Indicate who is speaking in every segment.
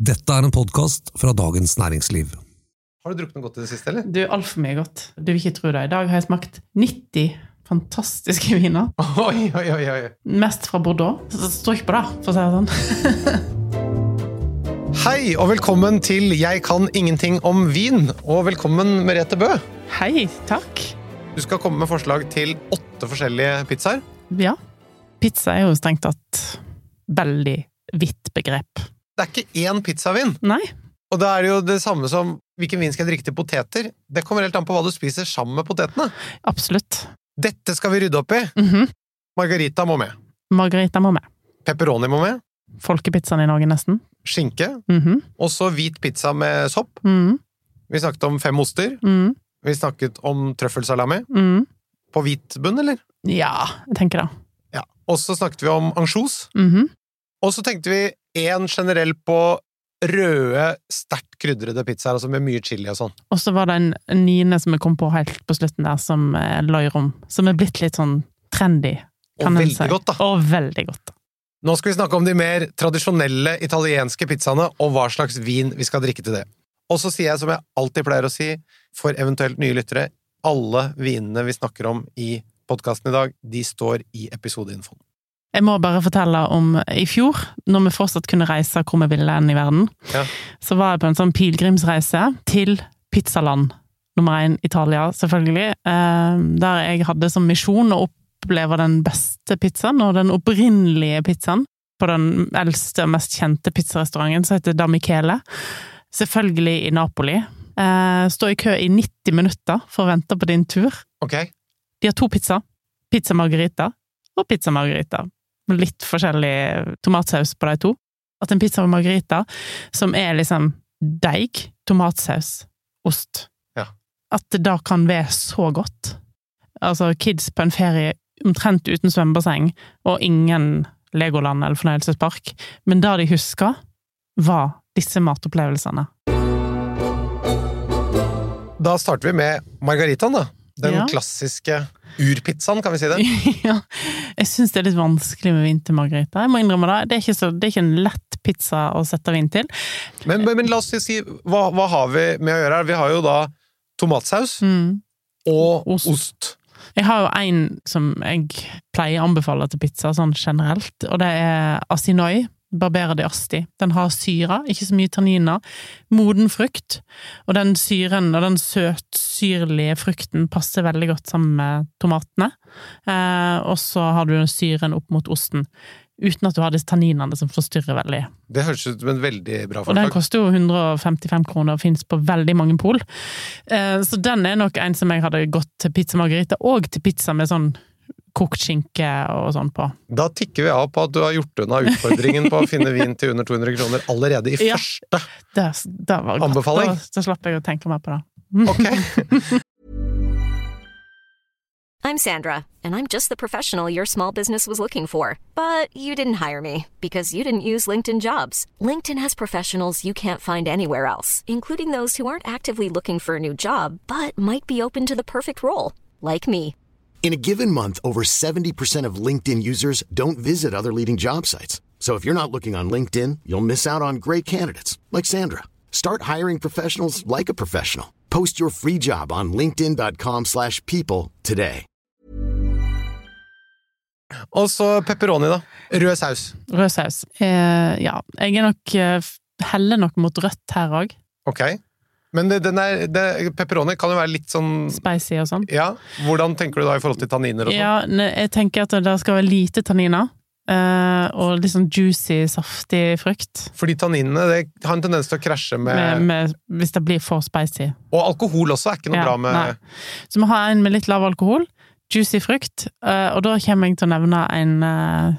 Speaker 1: Dette er en podkast fra Dagens Næringsliv.
Speaker 2: Har du druknet godt i det siste, eller?
Speaker 3: Du, altfor mye godt. Du vil ikke tro det. I dag har jeg smakt 90 fantastiske viner.
Speaker 2: Oi, oi, oi, oi.
Speaker 3: Mest fra Bordeaux. Så Stryk på det, for å si det sånn.
Speaker 2: Hei, og velkommen til Jeg kan ingenting om vin. Og velkommen, Merete Bø.
Speaker 3: Hei, takk.
Speaker 2: Du skal komme med forslag til åtte forskjellige pizzaer.
Speaker 3: Ja. Pizza er jo strengt tatt veldig vidt begrep.
Speaker 2: Det er ikke én pizzavin.
Speaker 3: Nei.
Speaker 2: Og da er det jo det samme som hvilken vin skal jeg drikke til poteter. Det kommer helt an på hva du spiser sammen med potetene.
Speaker 3: Absolutt.
Speaker 2: Dette skal vi rydde opp i.
Speaker 3: Mhm.
Speaker 2: Margarita må med.
Speaker 3: Margarita må med.
Speaker 2: Pepperoni må med.
Speaker 3: Folkepizzaen i Norge, nesten.
Speaker 2: Skinke.
Speaker 3: Mhm.
Speaker 2: Og så hvit pizza med sopp.
Speaker 3: Mhm.
Speaker 2: Vi snakket om fem oster.
Speaker 3: Mhm.
Speaker 2: Vi snakket om trøffelsalami.
Speaker 3: Mhm.
Speaker 2: På hvit bunn, eller?
Speaker 3: Ja, jeg tenker det.
Speaker 2: Ja. Og så snakket vi om ansjos.
Speaker 3: Mhm.
Speaker 2: Og så tenkte vi én generell på røde, sterkt krydrede pizzaer, altså med mye chili og sånn.
Speaker 3: Og så var det en niende som jeg kom på helt på slutten der, som eh, løy rom. Som er blitt litt sånn trendy.
Speaker 2: Og
Speaker 3: kan en
Speaker 2: veldig
Speaker 3: si.
Speaker 2: godt, da.
Speaker 3: Og veldig godt.
Speaker 2: Nå skal vi snakke om de mer tradisjonelle italienske pizzaene, og hva slags vin vi skal drikke til det. Og så sier jeg som jeg alltid pleier å si for eventuelt nye lyttere, alle vinene vi snakker om i podkasten i dag, de står i episodeinfoen.
Speaker 3: Jeg må bare fortelle om i fjor, når vi fortsatt kunne reise hvor vi ville enn i verden,
Speaker 2: Ja.
Speaker 3: så var jeg på en sånn pilegrimsreise til pizzaland. Nummer én Italia, selvfølgelig. eh, Der jeg hadde som misjon å oppleve den beste pizzaen, og den opprinnelige pizzaen, på den eldste og mest kjente pizzarestauranten, som heter Da Michele. Selvfølgelig i Napoli. Eh, Stå i kø i 90 minutter for å vente på din tur.
Speaker 2: Ok?
Speaker 3: De har to pizza. Pizza margarita og pizza margarita. Med litt forskjellig tomatsaus på de to. At en pizza margarita, som er liksom deig, tomatsaus, ost
Speaker 2: Ja.
Speaker 3: At det da kan være så godt. Altså, kids på en ferie omtrent uten svømmebasseng, og ingen Legoland eller fornøyelsespark. Men det de husker, var disse matopplevelsene.
Speaker 2: Da starter vi med margaritaen, da. Den
Speaker 3: Ja.
Speaker 2: klassiske urpizzaen, kan vi si det.
Speaker 3: ja. Jeg syns det er litt vanskelig med vin til margarita. Jeg må innrømme Det det er ikke, så, det er ikke en lett pizza å sette vin til.
Speaker 2: Men, men, men la oss si, hva, hva har vi med å gjøre her? Vi har jo da tomatsaus
Speaker 3: Mm.
Speaker 2: og
Speaker 3: Ost.
Speaker 2: ost.
Speaker 3: Jeg har jo en som jeg pleier å anbefale til pizza sånn generelt, og det er asinoi. Barbera di asti. Den har syre, ikke så mye tanniner. Moden frukt. Og den syren og den søtsyrlige frukten passer veldig godt sammen med tomatene. Eh, og så har du syren opp mot osten. Uten at du har disse tanninene som forstyrrer veldig.
Speaker 2: Det høres ut som en veldig bra
Speaker 3: Og den
Speaker 2: forslag.
Speaker 3: koster jo 155 kroner og fins på veldig mange pol. Eh, Så den er nok en som jeg hadde gått til pizza margarita, og til pizza med sånn kokt skinke og sånn på.
Speaker 2: Da tikker vi av på at du har gjort unna utfordringen på å finne vin til under 200 kroner allerede i
Speaker 3: Ja.
Speaker 2: første.
Speaker 3: Det, det var godt.
Speaker 2: Anbefaling.
Speaker 3: Da, da slapp jeg å tenke mer på det.
Speaker 2: Ok,
Speaker 4: I'm Sandra, and I'm just the professional your small business was looking for. But you didn't hire me because you didn't use LinkedIn jobs. LinkedIn has professionals you can't find anywhere else, including those who aren't actively looking for a new job but might be open to the perfect role, like me.
Speaker 5: In a given month, over 70% of LinkedIn users don't visit other leading job sites. So if you're not looking on LinkedIn, you'll miss out on great candidates like Sandra. Start hiring professionals like a professional. Post your free job on linkedin.com/people slash people today.
Speaker 2: Og så pepperoni, da. Rød saus.
Speaker 3: Rød saus. Eh, ja. Jeg er nok eh, f- heller nok mot rødt her òg.
Speaker 2: Ok. Men det, den er, det, pepperoni kan jo være litt sånn
Speaker 3: Spicy og sånn.
Speaker 2: Ja, hvordan tenker du da i forhold til tanniner og sånn?
Speaker 3: Ja, ne- jeg tenker at det skal være lite tanniner. eh, og litt sånn juicy, saftig frukt.
Speaker 2: Fordi tanninene det har en tendens til å krasje med,
Speaker 3: Med, med, hvis det blir for spicy.
Speaker 2: Og alkohol også er ikke noe
Speaker 3: Ja,
Speaker 2: bra med
Speaker 3: nei. Så vi har en med litt lav alkohol, juicy frukt, eh, og da kommer jeg til å nevne en, eh,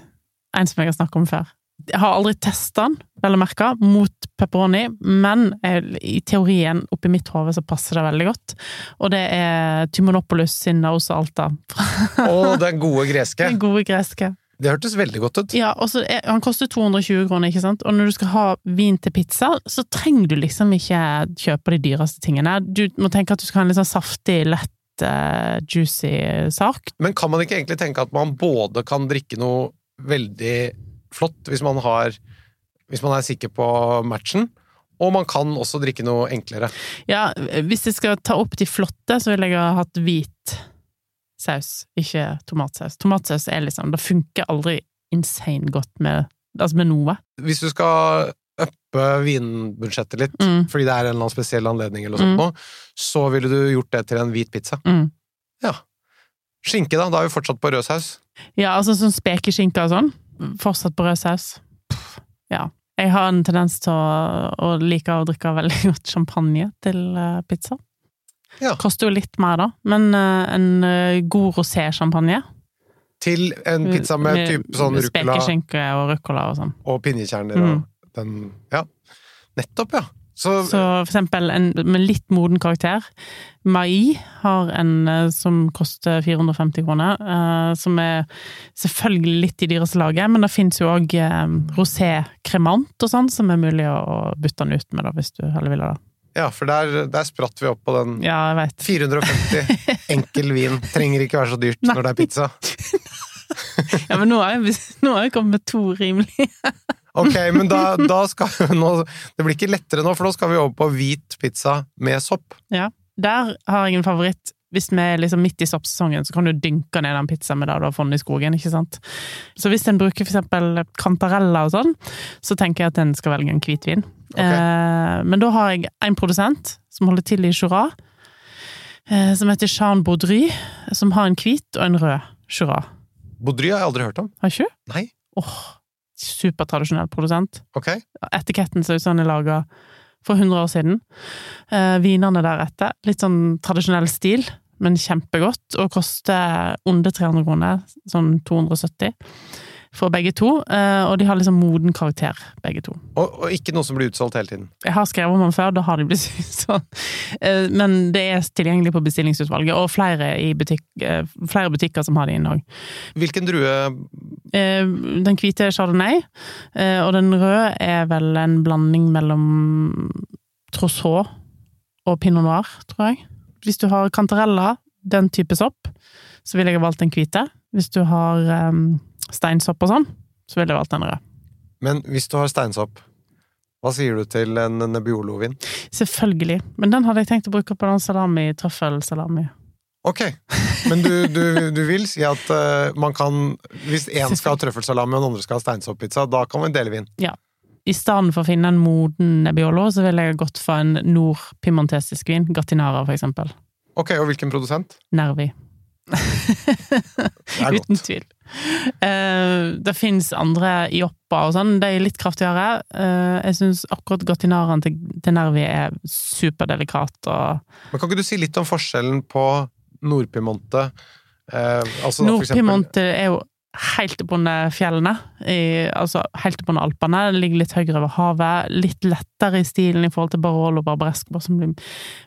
Speaker 3: en som jeg har snakket om før. Jeg har aldri testet den, vel å merke, mot pepperoni, men jeg, i teorien oppi mitt hode så passer det veldig godt. Og det er Tymonopoulos sin Naos Alta.
Speaker 2: Og den gode greske.
Speaker 3: Den gode greske.
Speaker 2: Det hørtes veldig godt ut.
Speaker 3: Ja, og så er, Han koster 220 kroner, ikke sant? og når du skal ha vin til pizza, så trenger du liksom ikke kjøpe de dyreste tingene. Du må tenke at du skal ha en litt sånn saftig, lett, eh, juicy sak.
Speaker 2: Men kan man ikke egentlig tenke at man både kan drikke noe veldig flott hvis man har hvis man er sikker på matchen. Og man kan også drikke noe enklere.
Speaker 3: Ja, hvis jeg skal ta opp de flotte, så vil jeg ha hatt hvit saus, ikke tomatsaus. Tomatsaus er liksom Det funker aldri insane godt med, altså med noe.
Speaker 2: Hvis du skal uppe vinbudsjettet litt,
Speaker 3: Mm.
Speaker 2: fordi det er en eller annen spesiell anledning, eller
Speaker 3: Mm.
Speaker 2: sånt noe, så ville du gjort det til en hvit pizza.
Speaker 3: Mm.
Speaker 2: Ja. Skinke, da? Da er vi fortsatt på rød saus.
Speaker 3: Ja, altså sånn spekeskinke og sånn. Fortsatt på rød saus. Pff, Ja. Jeg har en tendens til å, å like å drikke veldig godt champagne til eh, pizza.
Speaker 2: Ja.
Speaker 3: Koster jo litt mer, da, men eh, en eh, god rosé-champagne
Speaker 2: Til en pizza med, typ sånn
Speaker 3: med
Speaker 2: rucola
Speaker 3: Spekeskinke og rucola og sånn.
Speaker 2: og pinjekjerner
Speaker 3: Mm.
Speaker 2: og den Ja. Nettopp, ja. Så,
Speaker 3: Så for eksempel en med litt moden karakter. Mai har en eh, som koster 450 kroner, eh, som er selvfølgelig litt i dyreste laget, men det fins jo òg rosé kremant og sånn, som er mulig å å bytte den ut med, da, hvis du heller vil det.
Speaker 2: ja, for der, der spratt vi opp på den.
Speaker 3: Ja, jeg veit.
Speaker 2: 450 enkel vin trenger ikke være så dyrt
Speaker 3: Nei.
Speaker 2: når det er pizza.
Speaker 3: Ja, men nå har jeg, nå har jeg kommet med to rimelige.
Speaker 2: Ok, men da, da skal nå, Det blir ikke lettere nå, for nå skal vi over på hvit pizza med sopp.
Speaker 3: Ja. Der har jeg en favoritt. Hvis vi er liksom midt i soppsesongen, så kan du dynke ned den pizzaen med det du har funnet i skogen. ikke sant? Så hvis en bruker for eksempel kantareller og sånn, så tenker jeg at en skal velge en hvitvin.
Speaker 2: Ok.
Speaker 3: Eh, men da har jeg en produsent som holder til i Jura, eh, som heter Jean Baudry, som har en hvit og en rød Jura.
Speaker 2: Baudry har jeg aldri hørt om.
Speaker 3: Har ikke du?
Speaker 2: Nei.
Speaker 3: Åh, supertradisjonell produsent.
Speaker 2: Ok.
Speaker 3: Etiketten ser ut som den er laga for 100 år siden. Eh, vinene deretter. Litt sånn tradisjonell stil, men kjempegodt. Og koster under 300 kroner, sånn 270 for begge to. Eh, og de har liksom moden karakter, begge to.
Speaker 2: Og, og ikke noe som blir utsolgt hele tiden.
Speaker 3: Jeg har skrevet om den før, da har de blitt sånn. Eh, Men det er tilgjengelig på bestillingsutvalget, og flere, i butikk, eh, flere butikker som har det inne òg.
Speaker 2: Hvilken drue
Speaker 3: Eh, Den hvite er chardonnay, eh, og den røde er vel en blanding mellom trousseau og pinot noir, tror jeg. Hvis du har kantareller, den type sopp, så ville jeg ha valgt den hvite. Hvis du har eh, steinsopp og sånn, så ville jeg valgt den røde.
Speaker 2: Men hvis du har steinsopp, hva sier du til en Nebbiolo-vin?
Speaker 3: Selvfølgelig. Men den hadde jeg tenkt å bruke på den salami, trøffelsalami.
Speaker 2: Ok, men du, du, du vil si at eh, man kan Hvis én skal ha trøffelsalami og den andre skal ha steinsopppizza, da kan man dele vin.
Speaker 3: I stedet for å finne en moden nebbiolo, så ville jeg ha gått for en nordpimentesisk vin. Gratinara, for eksempel.
Speaker 2: Ok, og hvilken produsent?
Speaker 3: Nervi.
Speaker 2: Det er
Speaker 3: Uten
Speaker 2: godt.
Speaker 3: tvil. Eh, det fins andre joppa og sånn, de er litt kraftigere. Eh, jeg syns akkurat gatinaraen til, til Nervi er superdelikat og
Speaker 2: Men kan ikke du si litt om forskjellen på Nordpiemonte eh, altså da for eksempel-
Speaker 3: Nordpiemonte er jo helt oppunder fjellene, i, altså helt oppunder Alpene. Det ligger litt høyere over havet. Litt lettere i stilen i forhold til Barolo og Barbaresco, bare som blir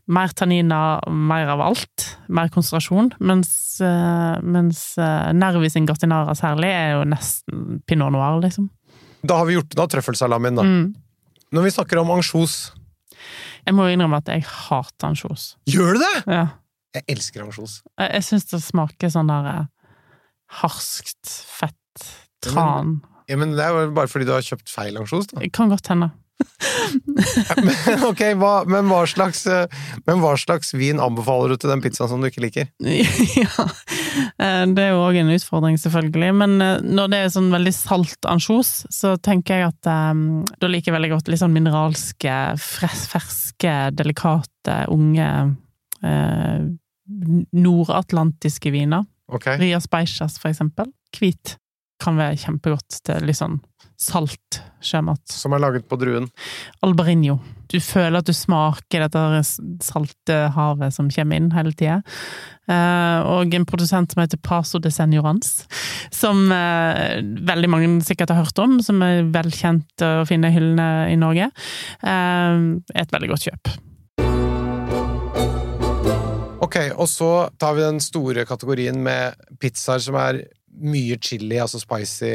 Speaker 3: mer tanniner, mer av alt. Mer konsentrasjon. Mens, eh, mens eh, Nervi sin gatinara særlig er jo nesten pinot noir, liksom.
Speaker 2: Da har vi gjort unna trøffelsalamien, da.
Speaker 3: Mm.
Speaker 2: Når vi snakker om ansjos
Speaker 3: Jeg må jo innrømme at jeg hater ansjos.
Speaker 2: Gjør du det?!
Speaker 3: Ja.
Speaker 2: Jeg elsker ansjos.
Speaker 3: Jeg, jeg syns det smaker sånn der eh, harskt, fett, tran.
Speaker 2: Ja, men det er jo bare fordi du har kjøpt feil ansjos, da.
Speaker 3: Det kan godt hende.
Speaker 2: Men, ok, hva, men, hva slags, eh, men hva slags vin anbefaler du til den pizzaen som du ikke liker?
Speaker 3: ja. Eh, Det er jo òg en utfordring, selvfølgelig. Men eh, når det er sånn veldig salt ansjos, så tenker jeg at eh, da liker jeg veldig godt litt sånn mineralske, fres, ferske, delikate, unge eh, n- nordatlantiske viner.
Speaker 2: Ok,
Speaker 3: Ria Speichas, for eksempel. Hvit kan være kjempegodt til litt sånn salt sjømat.
Speaker 2: Som er laget på druen.
Speaker 3: Albarinho. Du føler at du smaker dette s- salte havet som kommer inn hele tida. Eh, og en produsent som heter Paso de Senjorans, som eh, veldig mange sikkert har hørt om, som er velkjent eh, å finne i hyllene i Norge. Eh, er et veldig godt kjøp.
Speaker 2: Ok, og så tar vi den store kategorien med pizzaer som er mye chili, altså spicy.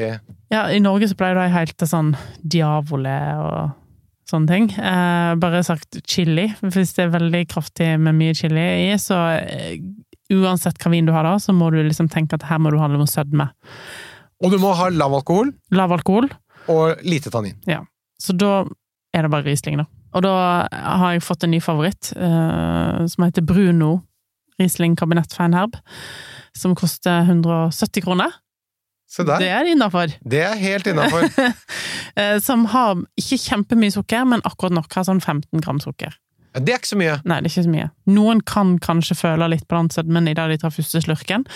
Speaker 3: Ja, i Norge så pleier det å være helt til sånn diavole og sånne ting. Eh, bare sagt chili. Hvis det er veldig kraftig med mye chili i, så eh, uansett hva vin du har da, så må du liksom tenke at her må du ha noe sødme.
Speaker 2: Og du må ha lav alkohol
Speaker 3: Lav alkohol.
Speaker 2: og lite tannin.
Speaker 3: Ja. Så da er det bare Riesling, da. Og da har jeg fått en ny favoritt, eh, som heter Bruno Riesling Kabinett Feinherb. Som koster 170 kroner.
Speaker 2: Se der.
Speaker 3: Det
Speaker 2: Det,
Speaker 3: er det innafor. Eh,
Speaker 2: er helt innafor.
Speaker 3: som har ikke kjempemye sukker, men akkurat nok har sånn 15 gram sukker.
Speaker 2: Det er ikke så mye.
Speaker 3: Nei, det er ikke så mye. Noen kan kanskje føle litt på den sødmen i det de tar første slurken.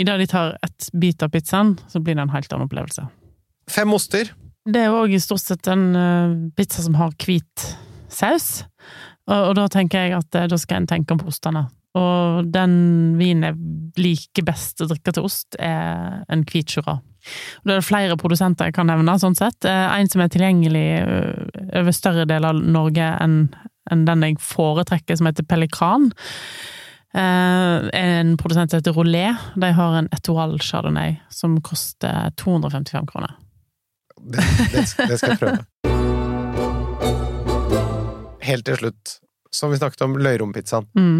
Speaker 3: I det de tar et bit av pizzaen, så blir det en helt annen opplevelse.
Speaker 2: Fem oster.
Speaker 3: Det er jo òg stort sett en eh, pizza som har hvit saus. Og, og da tenker jeg at eh, da skal en tenke på ostene. Og den vinen jeg liker best å drikke til ost, er en hvit Syrah. Og det er det flere produsenter jeg kan nevne, sånn sett. Eh, En som er tilgjengelig ø, over større deler av Norge enn enn den jeg foretrekker, som heter Pelikan. Eh, En produsent som heter Rolé. De har en Etoile Chardonnay som koster 255 kroner.
Speaker 2: Det, det, det skal jeg prøve. Helt til slutt, som vi snakket om løyrompizzaen.
Speaker 3: Mm.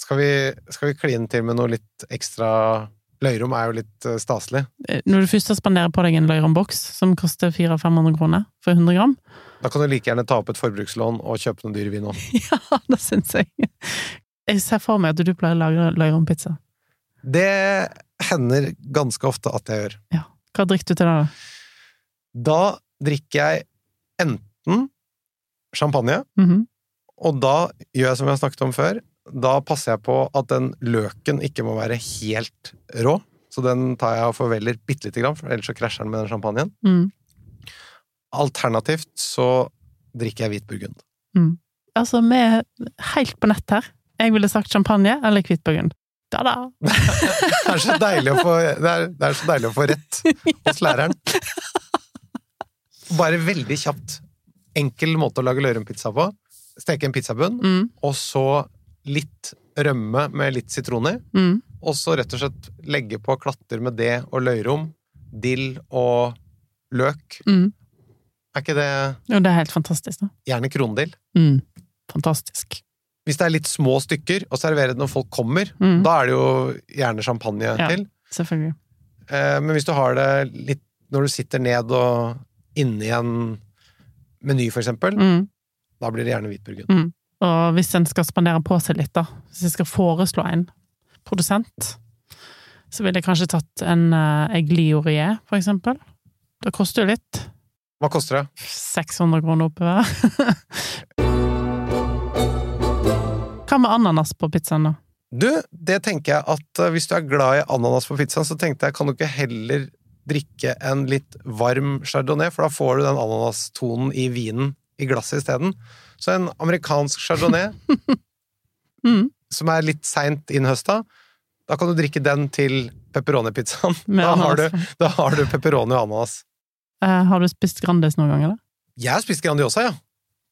Speaker 2: Skal vi, skal vi kline til med noe litt ekstra Løyrom er jo litt eh, staselig.
Speaker 3: Eh, Når du først spanderer på deg en Løyron-boks som koster 400-500 kroner for 100 gram
Speaker 2: Da kan du like gjerne ta opp et forbrukslån og kjøpe noe dyr vin òg.
Speaker 3: Ja, det syns jeg! Jeg ser for meg at du pleier å lage Løyron-pizza.
Speaker 2: Det hender ganske ofte at jeg gjør.
Speaker 3: Ja. Hva drikker du til det, da?
Speaker 2: Da drikker jeg enten champagne,
Speaker 3: Mhm.
Speaker 2: og da gjør jeg som vi har snakket om før. Da passer jeg på at den løken ikke må være helt rå, så den tar jeg og forveller bitte lite grann, for ellers så krasjer den med den champagnen.
Speaker 3: mm.
Speaker 2: Alternativt så drikker jeg hvit burgund.
Speaker 3: Altså, vi er helt på nett her. Jeg ville sagt champagne eller hvit burgund. Da, da!
Speaker 2: Det er så deilig å få, det er, det er så deilig å få rett hos læreren. Bare veldig kjapt. Enkel måte å lage løyrumpizza på. Steke en pizzabunn,
Speaker 3: Mm,
Speaker 2: og så litt rømme med litt sitron i.
Speaker 3: mm.
Speaker 2: Og så rett og slett legge på klatter med det og løyrom, dill og løk.
Speaker 3: Mm.
Speaker 2: Er ikke det
Speaker 3: Jo, det er helt fantastisk, da.
Speaker 2: gjerne krondill?
Speaker 3: Mm. Fantastisk.
Speaker 2: Hvis det er litt små stykker, og servere det når folk kommer,
Speaker 3: Mm.
Speaker 2: da er det jo gjerne champagne
Speaker 3: Ja.
Speaker 2: til.
Speaker 3: Selvfølgelig.
Speaker 2: Eh, Men hvis du har det litt når du sitter ned og inni en meny, for eksempel,
Speaker 3: Mm.
Speaker 2: da blir det gjerne hvit burgund.
Speaker 3: Og hvis en skal spandere på seg litt, da, hvis jeg skal foreslå en produsent, så ville jeg kanskje tatt en uh, Egliorie, for eksempel. Det koster jo litt.
Speaker 2: Hva koster det?
Speaker 3: 600 kroner oppover. Hva med ananas på pizzaen, da?
Speaker 2: Du, det tenker jeg at eh, hvis du er glad i ananas på pizzaen, så tenkte jeg, kan du ikke heller drikke en litt varm chardonnay, for da får du den ananastonen i vinen i glasset isteden. Så en amerikansk chardonnay
Speaker 3: Mm.
Speaker 2: som er litt seint innhøsta, da kan du drikke den til pepperoni-pizzaen.
Speaker 3: Med
Speaker 2: Da, har
Speaker 3: ananas.
Speaker 2: du- da har du pepperoni og ananas.
Speaker 3: Eh, har du spist Grandis noen gang, eller?
Speaker 2: Jeg har spist Grandiosa, ja.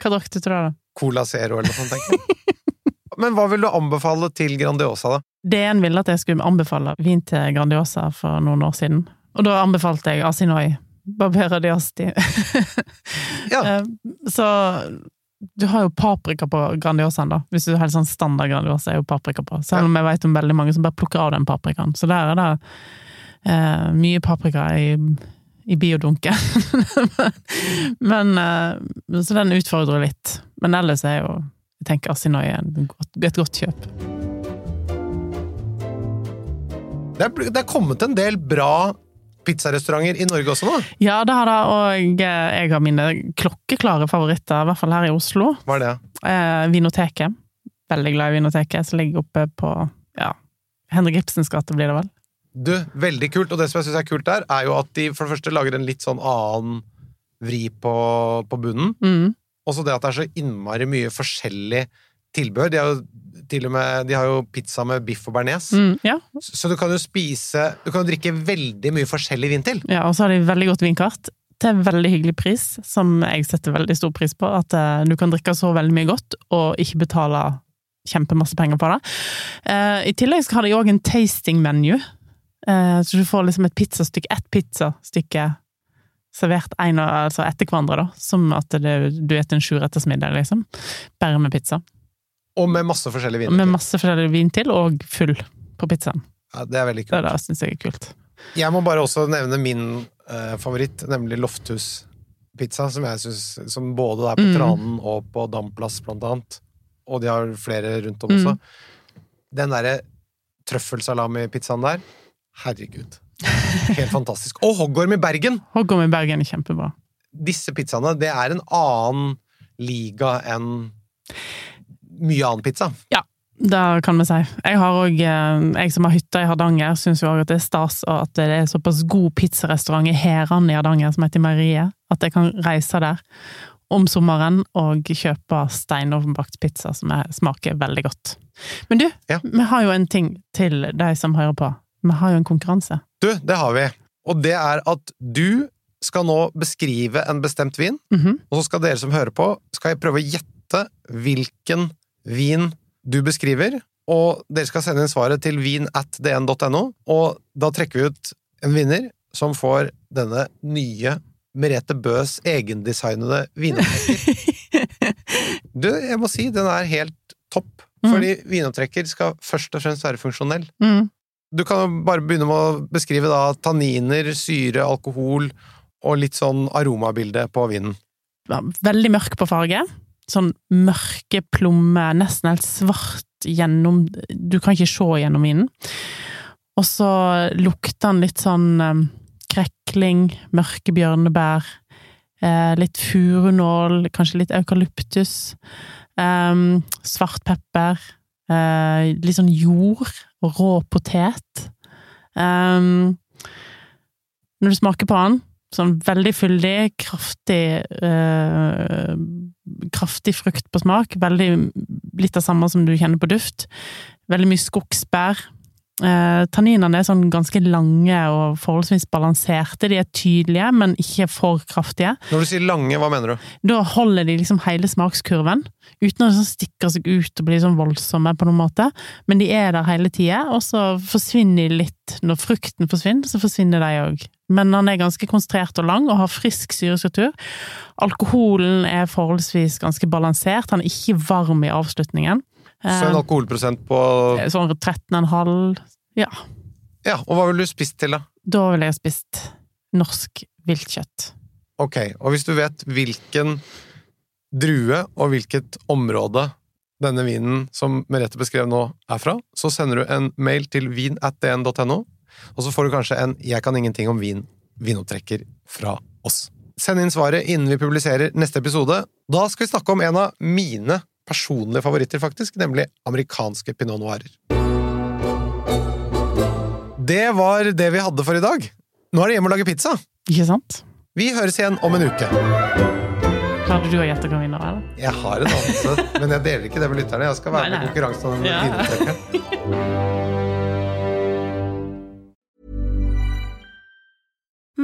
Speaker 3: Hva drakk du til det, da?
Speaker 2: Cola Zero eller noe sånt, tenker jeg. Men hva vil du anbefale til Grandiosa, da?
Speaker 3: Det en ville at jeg skulle anbefale vin til Grandiosa for noen år siden. Og da anbefalte jeg Asinoi. Barbera diasti.
Speaker 2: Ja.
Speaker 3: Eh, Så du har jo paprika på Grandiosaen, da. Hvis du har helt sånn standard Grandiosa, er jo paprika på. Selv om jeg vet om veldig mange som bare plukker av den paprikaen. Så der er det eh, mye paprika i, i biodunken. Men eh, Så den utfordrer litt. Men ellers er jo Jeg tenker Asinoi er en godt- et godt kjøp.
Speaker 2: Det er, bl- det er kommet en del bra pizzarestauranter i Norge også nå.
Speaker 3: Ja, det har det, og eh, jeg har mine klokkeklare favoritter, i hvert fall her i Oslo.
Speaker 2: Hva er det?
Speaker 3: Eh, Vinoteket. Veldig glad i Vinoteket, som ligger oppe på ja, Henrik Ibsens gate, blir det vel.
Speaker 2: Du, veldig kult. Og det som jeg syns er kult der, er jo at de for det første lager en litt sånn annen vri på, på bunnen.
Speaker 3: Mm.
Speaker 2: Også det at det er så innmari mye forskjellig tilbehør. De har jo til og med de har jo pizza med biff og bearnés.
Speaker 3: Mm, ja.
Speaker 2: Så du kan jo spise Du kan jo drikke veldig mye forskjellig vin til.
Speaker 3: ja, og så har de veldig godt vinkart. Til en veldig hyggelig pris, som jeg setter veldig stor pris på. At eh, du kan drikke så veldig mye godt, og ikke betale kjempemasse penger på det. Eh, I tillegg så har de òg en tasting-menu, eh, så du får liksom et pizzastykke, ett pizzastykke servert en, av- altså etter hverandre, da. Som at det, du spiser en sjurettersmiddag, liksom. Bare med pizza.
Speaker 2: Og med masse forskjellig vin.
Speaker 3: Med masse forskjellig vin til, og full på pizzaen.
Speaker 2: Ja, det er veldig kult.
Speaker 3: Det, det syns jeg er kult.
Speaker 2: Jeg må bare også nevne min eh, favoritt, nemlig Lofthus pizza som jeg synes, som både er på Tranen og på Damplass, blant annet, og de har flere rundt om også, den derre trøffelsalami-pizzaen der, herregud. Helt fantastisk. Og hoggorm i Bergen!
Speaker 3: Hoggorm i Bergen er kjempebra.
Speaker 2: Disse pizzaene, det er en annen liga enn mye annen pizza.
Speaker 3: Ja, det kan vi si. Jeg har òg, jeg som har hytta i Hardanger, syns jo òg at det er stas og at det er såpass god pizzarestaurant i Heran i Hardanger som heter Marie, at jeg kan reise der om sommeren og kjøpe steinovnbakt pizza som er, smaker veldig godt. Men du,
Speaker 2: Ja.
Speaker 3: vi har jo en ting til de som hører på. Vi har jo en konkurranse.
Speaker 2: Du, det har vi. Og det er at du skal nå beskrive en bestemt vin,
Speaker 3: Mhm.
Speaker 2: og så skal dere som hører på, skal jeg prøve å gjette hvilken vin du beskriver, og dere skal sende inn svaret til vin at dn.no, og da trekker vi ut en vinner som får denne nye Merete Bøs egendesignede vinopptrekker. Du, jeg må si, den er helt topp,
Speaker 3: Mhm.
Speaker 2: fordi vinopptrekker skal først og fremst være funksjonell.
Speaker 3: Mm.
Speaker 2: Du kan jo bare begynne med å beskrive da tanniner, syre, alkohol og litt sånn aromabilde på vinen.
Speaker 3: ja, veldig mørk på farge. Sånn mørke plomme, nesten helt svart gjennom Du kan ikke se gjennom vinen. Og så lukter den litt sånn eh, krekling, mørke bjørnebær, eh, litt furunål, kanskje litt eukalyptus. Eh, svart pepper. Eh, litt sånn jord og rå potet. Eh, når du smaker på den, sånn veldig fyldig, kraftig eh, Kraftig frukt på smak. Veldig litt av samme som du kjenner på duft. Veldig mye skogsbær. Eh, tanninene er sånn ganske lange og forholdsvis balanserte. De er tydelige, men ikke for kraftige.
Speaker 2: Når du sier lange, hva mener du?
Speaker 3: Da holder de liksom hele smakskurven, uten å liksom stikke seg ut og bli sånn voldsomme på noen måte. Men de er der hele tida, og så forsvinner de litt. Når frukten forsvinner, så forsvinner de òg. Men den er ganske konsentrert og lang, og har frisk syrestruktur. Alkoholen er forholdsvis ganske balansert, han er ikke varm i avslutningen.
Speaker 2: Så en alkoholprosent på
Speaker 3: Eh, Sånn 13,5 Ja.
Speaker 2: Ja, og hva ville du spist til, da?
Speaker 3: Da ville jeg ha spist norsk viltkjøtt.
Speaker 2: Ok, og hvis du vet hvilken drue og hvilket område denne vinen som Merete beskrev nå, er fra, så sender du en mail til vin at dn.no, og så får du kanskje en 'Jeg kan ingenting om vin' vinopptrekker fra oss. Send inn svaret innen vi publiserer neste episode. Da skal vi snakke om en av mine personlige favoritter, faktisk, nemlig amerikanske pinot noirer. Det var det vi hadde for i dag. Nå er det hjem og lage pizza.
Speaker 3: Ikke sant?
Speaker 2: Vi høres igjen om en uke.
Speaker 3: Klarte du å gjette hva vinneren er? eller?
Speaker 2: Jeg har en anelse, men jeg deler ikke det med lytterne. Jeg skal være
Speaker 3: Nei,
Speaker 2: med i
Speaker 3: nei.
Speaker 2: konkurransen om den
Speaker 3: Ja.
Speaker 2: vinnertrekkeren.